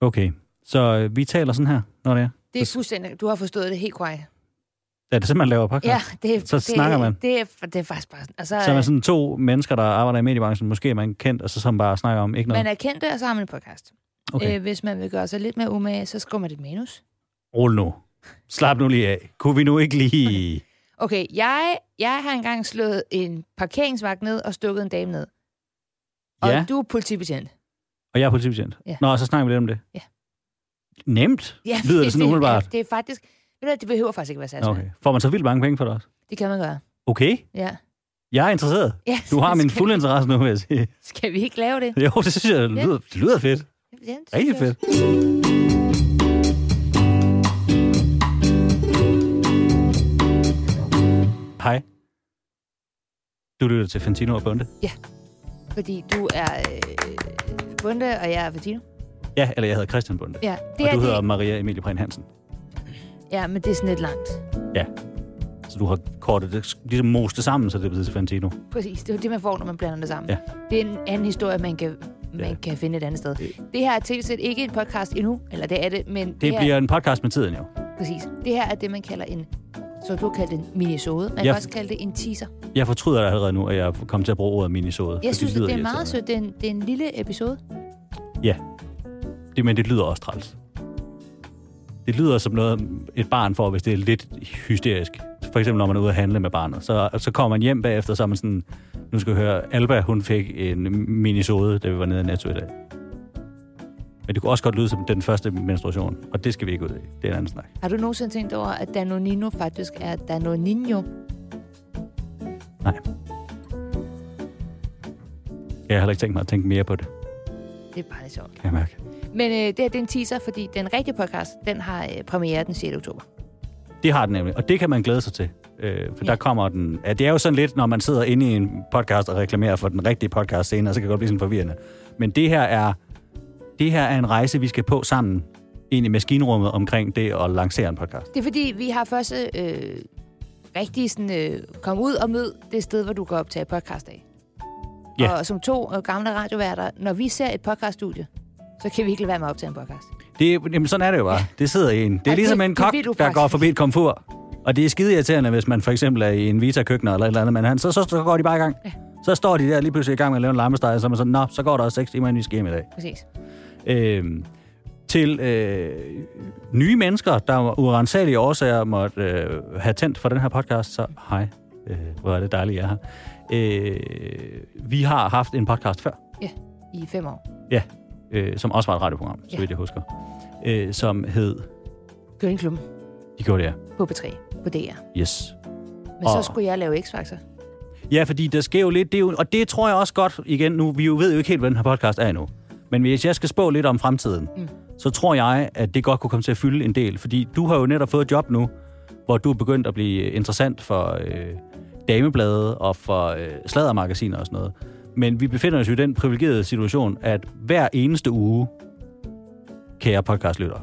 Okay, så øh, vi taler sådan her, når det er. Det er fuldstændig, du har forstået det helt korrekt. Er det simpelthen laver podcast? Ja, det, Så det, snakker man. Det, det, er, det er faktisk bare... altså, Og så, Så er man sådan to mennesker, der arbejder i mediebranchen, måske er man kendt, og så som bare snakker om ikke noget. øh, man er kendt, og så har man en podcast. Okay, Øh, hvis man vil gøre sig lidt mere umage, så skriver man et manus. øh, rul nu. Slap nu lige af. Kunne vi nu ikke lige... Okay, jeg, jeg har engang slået en parkeringsvagt ned og stukket en dame ned. Og Ja. du er politibetjent. Og jeg er politibetjent. Ja. Nå, og så snakker vi lidt om det. Ja. Nemt, lyder det sådan umiddelbart. Det, det er altså. faktisk... Ved du, hvad, det behøver faktisk ikke være særlig okay. Okay. Får man så vildt mange penge for det også? Det kan man gøre. Okay, Ja. jeg er interesseret. ja Du har min skal, fulde interesse nu, vil jeg sige. Skal vi ikke lave det? Jo, det synes jeg, det lyder, det lyder fedt. Ja, det synes Rigtig jeg fedt. Hej. Du lytter til Fantino og Bunde. også, Fordi du er øh, Bunde, og jeg er Fatino. Ja, eller jeg hedder Christian Bunde. Ja, det og er du hedder det. Maria Emilie Prehn Hansen. Ja, men det er sådan lidt langt. Så du har kortet det, ligesom most det sammen, så det er blevet til Fantino. Præcis, det er jo det, man får, når man blander det sammen. Ja. Det er en anden historie, man kan, man Ja. kan finde et andet sted. Det- Det her er tilsæt ikke en podcast endnu, eller det er det, men det, Det her, bliver en podcast med tiden, jo. præcis. det her er det, man kalder en, så du kalder det en minisode. Man Ja. kan også kalde det en teaser. Jeg fortryder det allerede nu, at jeg kom til at bruge ordet minisode. for Jeg synes, at lyder det er irriterende. meget sødt. Det er, en, det er en lille episode. Det, men det lyder også træls. Det lyder som noget, et barn får, hvis det er lidt hysterisk. For eksempel, når man er ude at handle med barnet. Så, så kommer man hjem bagefter, så er man sådan... Nu skal jeg høre, Alba, hun fik en minisode, da vi var nede i Netto i dag. Men det kunne også godt lyde som den første menstruation, og det skal vi ikke ud i. Det er en anden snak. Har du nogensinde tænkt over, at Danonino faktisk er Danonino? Nej. Jeg har heller ikke tænkt mig at tænke mere på det, Det er bare lidt sjovt. kan jeg mærke. Men øh, det her det er en teaser, fordi den rigtige podcast, den har øh, premiere den 6. oktober. Det har den nemlig, og det kan man glæde sig til. Øh, for Ja. ja. der kommer den... Ja, det er jo sådan lidt, når man sidder inde i en podcast og reklamerer for den rigtige podcast senere, så kan det godt blive sådan forvirrende. Men det her er, det her er en rejse, vi skal på sammen ind i maskinrummet omkring det at lancere en podcast. Det er fordi, vi har først øh, rigtig sådan, øh, kom ud og mød det sted, hvor du kan optage podcast af. Ja. Og som to øh, gamle radioværter, når vi ser et podcaststudie, så kan vi ikke lade være med at optage en podcast. Det, er- jamen, sådan er det jo bare. Det sidder i en. Det er Ej, ligesom det- en det kok, ved du der faktisk går forbi et komfur. Og det er skide irriterende, hvis man for eksempel er i en Vita-køkkener eller et eller andet, men han, så, så, så går de bare i gang. Så står de der lige pludselig i gang med at lave en lammesteg, og så er man sådan, nå, så går der også seks timer ind i skema i dag. Præcis. øh, til øh, nye mennesker, der af urensagelige årsager måtte øh, have tændt for den her podcast, så hej, øh, hvor er det dejligt, jeg er her. Øh, vi har haft en podcast før, I fem år. øh, som også var et radioprogram, så Ja. vidt jeg husker, øh, som hed, Køllingklubben de gjorde det her, på B3, på DR. yes, Men så Og- skulle jeg lave X-Factor. Ja, fordi der sker jo lidt, det er jo, og det tror jeg også godt, igen, nu, vi jo ved jo ikke helt, hvad den her podcast er endnu, men hvis jeg skal spå lidt om fremtiden, Mm. mm. så tror jeg, at det godt kunne komme til at fylde en del, fordi du har jo netop fået et job nu, hvor du er begyndt at blive interessant for øh, dameblade og for øh, sladdermagasiner og sådan noget. Men vi befinder os jo i den privilegerede situation, at hver eneste uge, kære podcastlytter,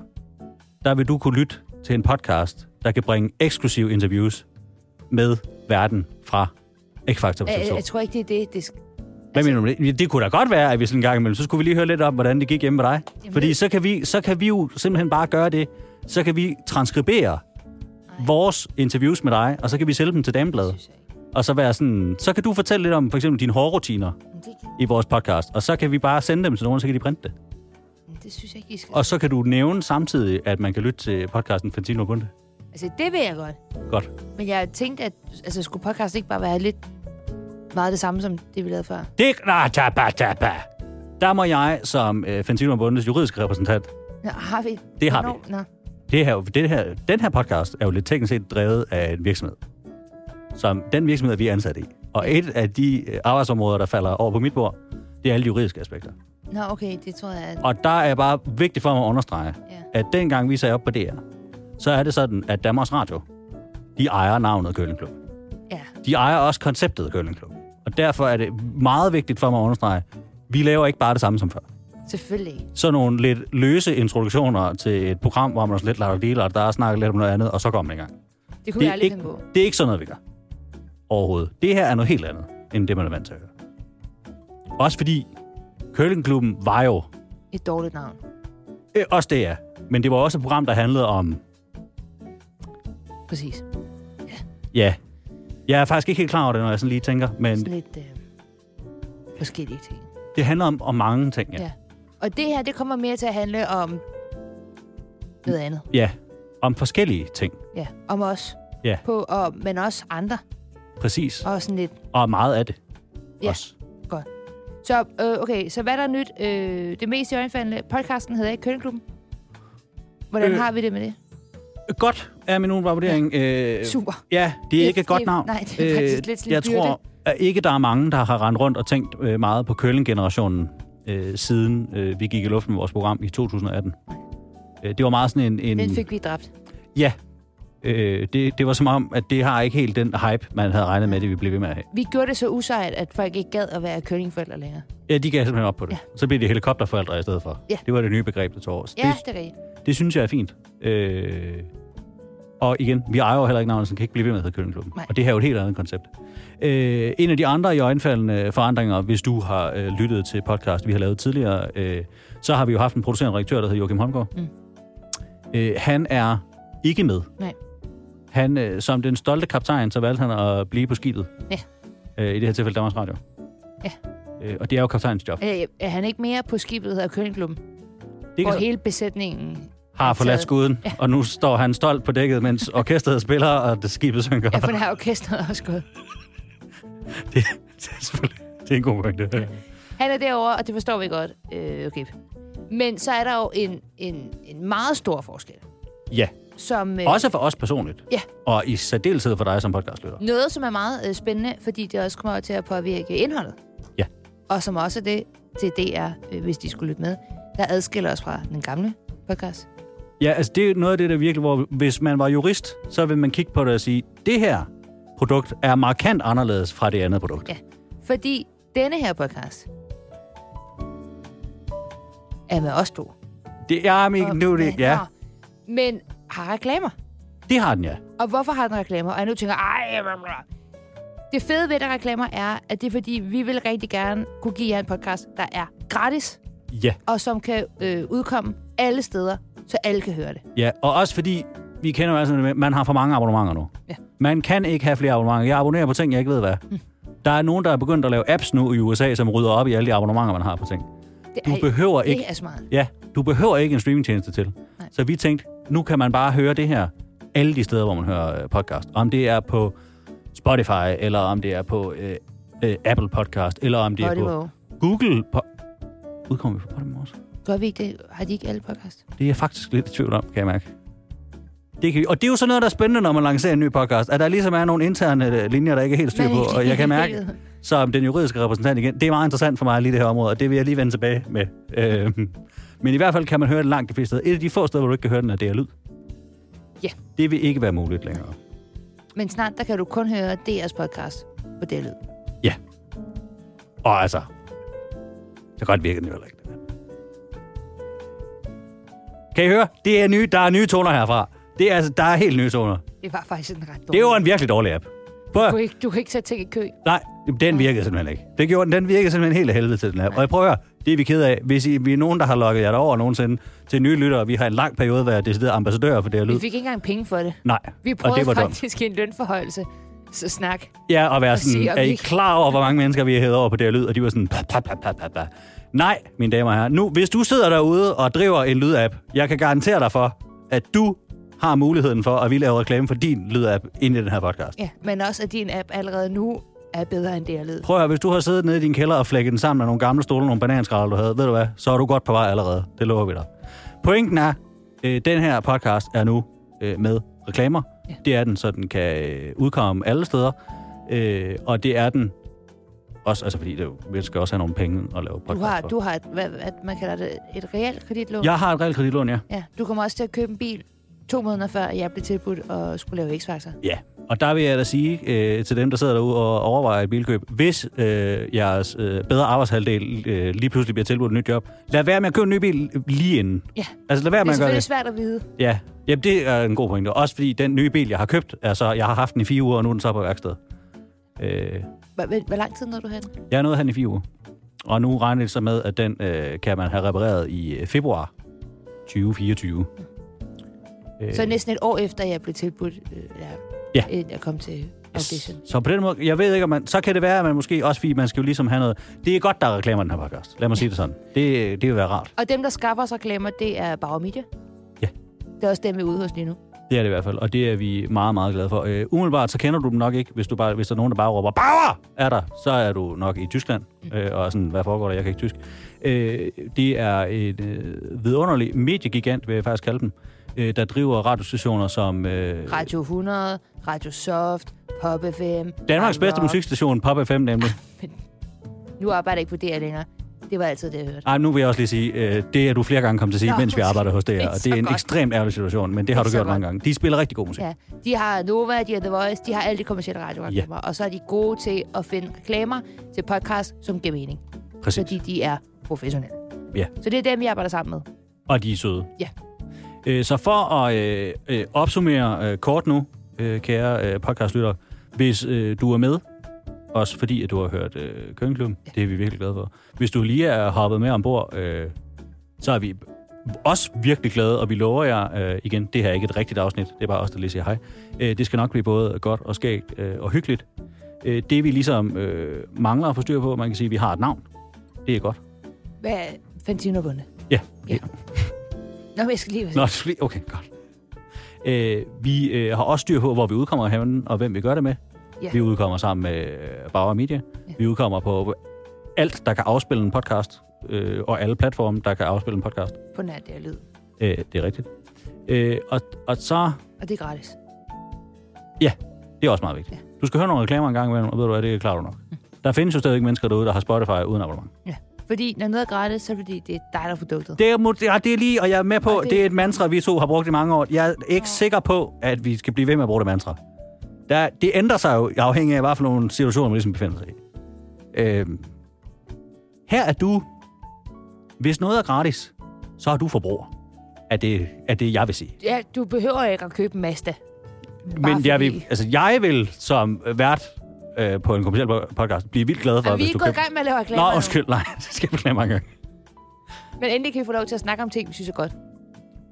der vil du kunne lytte til en podcast, der kan bringe eksklusive interviews med verden fra X-Factor. Jeg, jeg, jeg tror ikke, det er det. det sk- Hvad Altså- mener du med det? Ja, Det kunne da godt være, at vi sådan en gang imellem, så skulle vi lige høre lidt om, hvordan det gik hjemme med dig. Jamen, Fordi det- så kan, vi, så kan vi jo simpelthen bare gøre det. Så kan vi transkribere vores interviews med dig, og så kan vi sælge dem til Damebladet. synes jeg ikke. Og så være sådan, så kan du fortælle lidt om for eksempel dine hårrutiner Men det, i vores podcast, og så kan vi bare sende dem til nogen, og så kan de printe det. men det synes jeg ikke, I skal. Og så kan du nævne samtidig, at man kan lytte til podcasten Fantino og Bunde. Altså, det vil jeg godt. Godt. Men jeg tænkte, at altså, skulle podcast ikke bare være lidt meget det samme, som det vi lavede før? Det na, tapa, tapa. Der må jeg som øh, Fantino og Bundes juridiske repræsentant Nå, har vi? Det har Hvornår? Nå. det her, det her, den her podcast er jo lidt teknisk set drevet af en virksomhed, som den virksomhed, vi er ansat i. Og et af de øh, arbejdsområder, der falder over på mit bord, det er alle de juridiske aspekter. Nå, okay, det tror jeg, at... Og der er bare vigtigt for mig at understrege, Ja. at dengang vi sagde op på DR, så er det sådan, at Danmarks Radio, de ejer navnet Køling Klub. ja. De ejer også konceptet Køling Klub. Og derfor er det meget vigtigt for mig at understrege, vi laver ikke bare det samme som før. Selvfølgelig ikke. Sådan nogle lidt løse introduktioner til et program, hvor man også lidt lader dealer, der er snakket lidt om noget andet, og så kommer man i gang. Det Det kunne det er jeg aldrig ikke- ikke... finde på. Det er ikke sådan noget, vi gør. Overhovedet. Det her er noget helt andet, end det, man er vant til at høre. Også fordi curlingklubben var jo Et dårligt navn. Øh, også det, ja. Men det var også et program, der handlede om... Præcis. Ja. Jeg er faktisk ikke helt klar over det, når jeg sådan lige tænker, men Sådan lidt øh, forskellige ting. det handler om, om mange ting, ja. Ja. Og det her, det kommer mere til at handle om noget andet. Ja. Om forskellige ting, Ja, om os. Ja. På, og, men også andre. præcis. Og sådan lidt. Og meget af det Ja. også. Så, øh, okay, så hvad er der nyt? Øh, det mest i øjenfaldende. Podcasten hedder ikke Kønneklubben. Hvordan Øh, øh, har vi det med det? Godt er min umiddelbare vurdering. Øh, Super. Ja, det er ikke et godt navn. Nej, det er faktisk lidt sådan Øh, Jeg en byrde. tror at ikke, der er mange, der har rendt rundt og tænkt øh, meget på Kølling-generationen, øh, siden øh, vi gik i luften med vores program i 2018. Øh, det var meget sådan en... en Den fik vi dræbt. Ja. Øh, det, det var som om, at det har ikke helt den hype, man havde regnet med, det vi blev ved med at have. Vi gjorde det så usejt, at folk ikke gad at være kølingforældre længere. Ja, de gav simpelthen op på det. Ja. Ja. Så blev det helikopterforældre i stedet for. Ja. Det var det nye begreb, der tog over. Så Ja, Det, det er rigtigt. det synes jeg er fint. Øh, og igen, vi ejer jo heller ikke navnet, så den kan ikke blive ved med at hedde Køllingklubben. Nej. Og det her er jo et helt andet koncept. Øh, en af de andre i øjenfaldende forandringer, hvis du har øh, lyttet til podcast, vi har lavet tidligere, øh, så har vi jo haft en producerende redaktør, der hedder Joachim Holmgaard. Mm. Øh, han er ikke med. Nej. Han, øh, som den stolte kaptajn, så valgte han at blive på skibet. Ja. Øh, I det her tilfælde Danmarks Radio. Ja. Øh, og det er jo kaptajnens job. Er, Øh, er han ikke mere på skibet, der hedder Køllingklubben? Det Hvor kan- hele besætningen... har forladt taget. skuden, ja. og nu står han stolt på dækket, mens orkestret spiller, og det skibet synker. Ja, for der er orkestret også gået. det, det, er selvfølgelig- det er en god pointe. Han er derovre, og det forstår vi godt. Øh, okay. Men så er der jo en, en, en meget stor forskel. Ja, Som, øh, også for os personligt. Ja. Og i særdeleshed for dig som podcastlytter. Noget, som er meget øh, spændende, fordi det også kommer til at påvirke indholdet. Ja. Og som også er det til DR, øh, hvis de skulle lytte med, der adskiller os fra den gamle podcast. Ja, altså det er noget af det, der virkelig, hvor hvis man var jurist, så vil man kigge på det og sige, det her produkt er markant anderledes fra det andet produkt. Ja. Fordi denne her podcast er med os to. Det er men nu, er det, ja, Men har reklamer. det har den, ja. Og hvorfor har den reklamer? Og jeg nu tænker, ej, bla, bla. Det fede ved, at der er reklamer er, at det er fordi, vi vil rigtig gerne kunne give jer en podcast, der er gratis, Ja, og som kan øh, udkomme alle steder, så alle kan høre det. ja. Og også fordi, vi kender jo altså, det med, man har for mange abonnementer nu. Ja. Man kan ikke have flere abonnementer. Jeg abonnerer på ting, jeg ikke ved hvad. Mm. Der er nogen, der er begyndt at lave apps nu i USA, som rydder op i alle de abonnementer, man har på ting. Det, Du behøver ikke Det er smart. Ja, du behøver ikke en streamingtjeneste til. Nej. Nej. Så vi tænkte, nu kan man bare høre det her alle de steder, hvor man hører øh, podcast. Om det er på Spotify, eller om det er på øh, øh, Apple Podcast, eller om det er Podimo. på Google... Po- Udkommer vi på Podimo også? Gør vi ikke det? Har de ikke alle podcast? Det er jeg faktisk lidt i tvivl om, kan jeg mærke. Det kan vi. Og det er jo sådan noget, der er spændende, når man lancerer en ny podcast, at der ligesom er nogle interne øh, linjer, der ikke er helt styr Man er på, ikke og jeg kan helt mærke, ved. som den juridiske repræsentant igen, det er meget interessant for mig lige det her område, og det vil jeg lige vende tilbage med. Øh, men i hvert fald kan man høre det langt de fleste steder. Et af de få steder, hvor du ikke kan høre den, er DR Lyd. Ja. Det vil ikke være muligt længere. Men snart, der kan du kun høre DR's podcast på det lyd. Ja. Og altså, så godt virker den jo heller ikke. den her. Kan I høre? Det er nye, der er nye toner herfra. Det er, altså, der er helt nye toner. Det var faktisk en ret dårlig. Det var en virkelig dårlig app. Prøv, Du kan ikke, du kan ikke sætte ting i kø. Nej, den virkede simpelthen ikke. Det gjorde den. Den virkede simpelthen helt af helvede til den her. Og jeg prøver, det er vi ked af. Hvis I, vi er nogen, der har lukket jer derover nogensinde til nye lyttere, vi har en lang periode været decideret ambassadører for det her Vi lyd. fik ikke engang penge for det. Nej, Vi og det prøvede var dumt. faktisk en lønforhøjelse. Så snak. Ja, at være sådan, sige, er at I vi- klar over, hvor mange mennesker vi har hævet over på det her lyd? Og de var sådan, pa, pa, pa, pa, pa, pa. Nej, mine damer og herrer. Nu, hvis du sidder derude og driver en lydapp, jeg kan garantere dig for, at du har muligheden for, at vi laver reklame for din lydapp ind i den her podcast. Ja, men også, at din app allerede nu er bedre end DR Lyd. Prøv at høre, hvis du har siddet nede i din kælder og flækket den sammen med nogle gamle stole og nogle bananskraller, du havde, ved du hvad, så er du godt på vej allerede. Det lover vi dig. Pointen er, øh, den her podcast er nu øh, med reklamer. Ja. Ja. Det er den, så den kan øh, udkomme alle steder. Øh, og det er den også, altså fordi det, jo- vi skal også have nogle penge at lave podcast Du har, for. du har et, hvad, hvad, man kalder det, et reelt kreditlån. Jeg har et reelt kreditlån, ja. ja. Du kommer også til at købe en bil to måneder før, jeg blev tilbudt og skulle lave X-Factor. Ja, og der vil jeg da sige øh, til dem, der sidder derude og overvejer et bilkøb, hvis øh, jeres øh, bedre arbejdshalvdel øh, lige pludselig bliver tilbudt et nyt job, lad være med at købe en ny bil lige inden. Ja. Altså lad være Det med at gøre er selvfølgelig det. svært at vide. Ja, Jamen, det er en god pointe. Også fordi den nye bil, jeg har købt, altså jeg har haft den i fire uger, og nu er den så på værksted. Øh, Hvor, hvor- hvor lang tid nåede du hen? jeg har nået at have den i fire uger. Og nu regner det så med, at den øh, kan man have repareret i øh, februar 2024. Øh, Så næsten et år efter, jeg blev tilbudt, øh, ja, Ja. inden jeg kom til audition. Så på den måde, jeg ved ikke, om man, så kan det være, at man måske også, fordi man skal jo ligesom have noget, det er godt, der er reklamer i den her podcast. Lad mig sige det sådan. Det, det vil være rart. Og dem, der skaffer os reklamer, det er Bauer Media. Ja. Øh. Det er også dem, vi er ude hos lige nu. Det er det i hvert fald, og det er vi meget, meget glade for. Øh, umiddelbart, så kender du dem nok ikke, hvis, du bare, hvis der er nogen, der bare råber, Bauer er der, så er du nok i Tyskland, øh, og er sådan, hvad foregår der, jeg kan ikke tysk. Øh, det er et øh, vidunderlig mediegigant, vil jeg faktisk kalde dem, øh, der driver radiostationer som øh, Radio 100, Radio Soft, Pop FM. Danmarks Radio bedste Rock. musikstation, Pop FM nemlig. Nu arbejder jeg ikke på DR længere. Det var altid det, jeg hørte. Ej, Ah, nu vil jeg også lige sige, øh, det er du flere gange kommet til at sige, Nå, mens vi arbejder hos det DR, er og så det er en godt. ekstremt ærgerlig situation, men det har Det du er så gjort mange godt. gange. De spiller rigtig god musik. Ja. De har Nova, de har The Voice, de har alle de kommersielle radioprogrammer. Og så er de gode til at finde reklamer til podcast, som giver mening. Præcis. Fordi de er professionelle. Ja. Så det er dem, vi arbejder sammen med. Og de er søde. Ja. Øh, så for at øh, øh, opsummere øh, kort nu, øh, kære øh, podcastlytter, hvis øh, du er med, også fordi at du har hørt øh, Køkkenklubben, det er vi virkelig glade for. Hvis du lige er hoppet med ombord, øh, så er vi også virkelig glade, og vi lover jer øh, igen, det her er ikke et rigtigt afsnit, det er bare os, der lige siger hej. Øh, det skal nok blive både godt og skægt øh, og hyggeligt. Øh, det vi ligesom øh, mangler at få styr på, man kan sige, at vi har et navn. Det er godt. Hvad er Fantino bundet? Ja. Ja. Nå, men jeg skal lige... Nå, det skal lige- okay, godt. Øh, vi øh, har også styr på, hvor vi udkommer henne, og hvem vi gør det med. Ja. Vi udkommer sammen med øh, Bauer Media. Ja. Vi udkommer på alt, der kan afspille en podcast, øh, og alle platforme, der kan afspille en podcast. På nær, det er lyd. Øh, det er rigtigt. Øh, og, og så... Og det er gratis. Det er også meget vigtigt. Du skal høre nogle reklamer en gang imellem, og ved du hvad, det er klart nok. Mm. Der findes jo stadig mennesker derude, der har Spotify uden abonnement. Ja. Fordi når noget er gratis, så er det fordi, det er dig, der er produktet. Det er, mod- ja, det er lige, og jeg er med på, det... Og det- det er et mantra, vi to har brugt i mange år. Jeg er ikke sikker på, at vi skal blive ved med at bruge det mantra. Der, det ændrer sig jo afhængig af, hvad for nogle situationer man ligesom befinder sig i. Øhm, her er du, hvis noget er gratis, så er du forbruger. Er det, er det jeg vil sige. Ja, du behøver ikke at købe en Mazda. Men jeg, fordi- vil, altså, jeg vil som vært øh, på en kommersiel po- podcast blive vildt glad for, Er vi hvis du ikke gået i køber... gang med at lave reklamer Nå, nu? undskyld, nej, det skal jeg beklage mange gange. Men endelig kan vi få lov til at snakke om ting, vi synes er godt.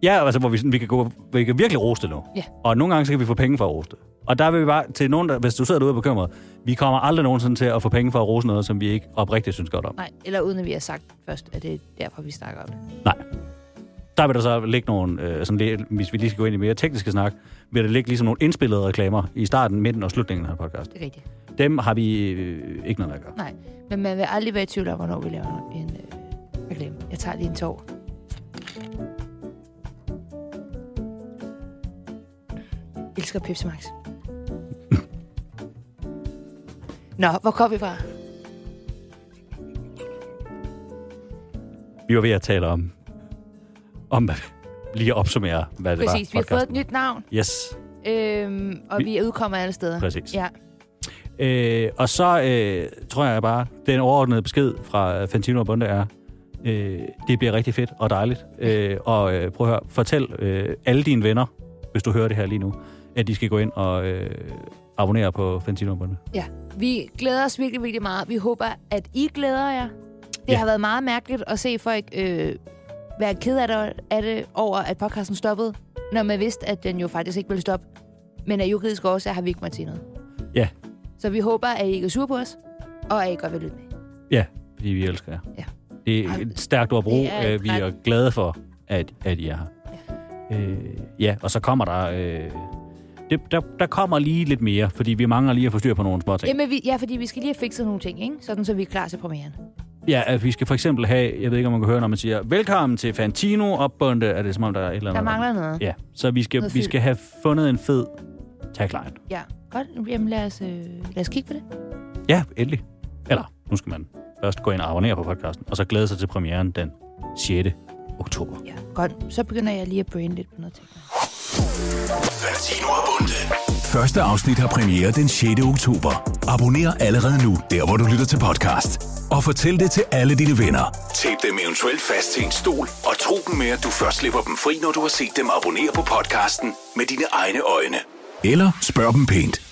Ja, altså, hvor vi, sådan, vi, kan gå, vi kan virkelig roste nu. Ja. Og nogle gange, så kan vi få penge for at roste. Og der vil vi bare, til nogen, der, hvis du sidder derude og er bekymret, vi kommer aldrig nogensinde til at få penge for at rose noget, som vi ikke oprigtigt synes godt om. Nej, eller uden at vi har sagt først, at det er derfor, vi snakker om det. Nej. Der vil der så ligge nogle, øh, sådan lidt, hvis vi lige skal gå ind i mere tekniske snak, vil der ligge ligesom nogle indspillede reklamer i starten, midten og slutningen af den her podcast. Det er rigtigt. Dem har vi øh, ikke noget med at gøre. Nej, men man vil aldrig være i tvivl om, hvornår vi laver en øh, reklame. Jeg tager lige en tår. Jeg elsker Pepsi Max. Nå, hvor kom vi fra? Vi var ved at tale om, om hvad- lige at opsummere, hvad det Præcis, vi var. har fået et podcasten. nyt navn, Yes, øhm, og Vi- vi, vi er udkommet alle steder. Præcis. Ja. Øh, og så øh, tror jeg bare, den overordnede besked fra Fantino og Bunde er, øh, det bliver rigtig fedt og dejligt. Øh, og øh, prøv at høre, fortæl øh, alle dine venner, hvis du hører det her lige nu, at de skal gå ind og øh, abonnere på Fantino og Bunde. Ja, vi glæder os virkelig, virkelig meget. Vi håber, at I glæder jer. Det Ja. ja. har været meget mærkeligt at se folk øh, være ked af det, af det over, at podcasten stoppede, når man vidste, at den jo faktisk ikke ville stoppe. Men af juridiske årsager har vi ikke måttet sige noget. Ja. Så vi håber, at I ikke er sure på os, og at I godt vil lytte med. Ja, fordi vi elsker jer. Ja. Det er Ej, et stærkt ord at bruge. det er et Øh, vi er glade for, at, at I er her. Ja. Øh, ja, og så kommer der... Øh, det, der, der kommer lige lidt mere, fordi vi mangler lige at få styr på nogle små ting. Jamen, vi, ja, fordi vi skal lige have fikset nogle ting, ikke? Sådan, så vi er klar til premieren. Ja, at vi skal for eksempel have, jeg ved ikke, om man kan høre, når man siger, velkommen til Fantino opbundet, er det som om, der er et eller Der andet. mangler noget. Ja, så vi skal, Noget vi fyld. skal have fundet en fed tagline. Ja. Godt, jamen lad os, øh, lad os kigge på det. Ja, endelig. Eller, nu skal man først gå ind og abonnere på podcasten, og så glæde sig til premieren den 6. oktober. Ja. Godt, så begynder jeg lige at brain lidt på noget ting. Bertino og Bunde. Første afsnit har premiere den 6. oktober. Abonner allerede nu, der hvor du lytter til podcast. Og fortæl det til alle dine venner. Tæp dem eventuelt fast til en stol, og tro dem med, at du først slipper dem fri, når du har set dem abonnere på podcasten med dine egne øjne. Eller spørg dem pænt,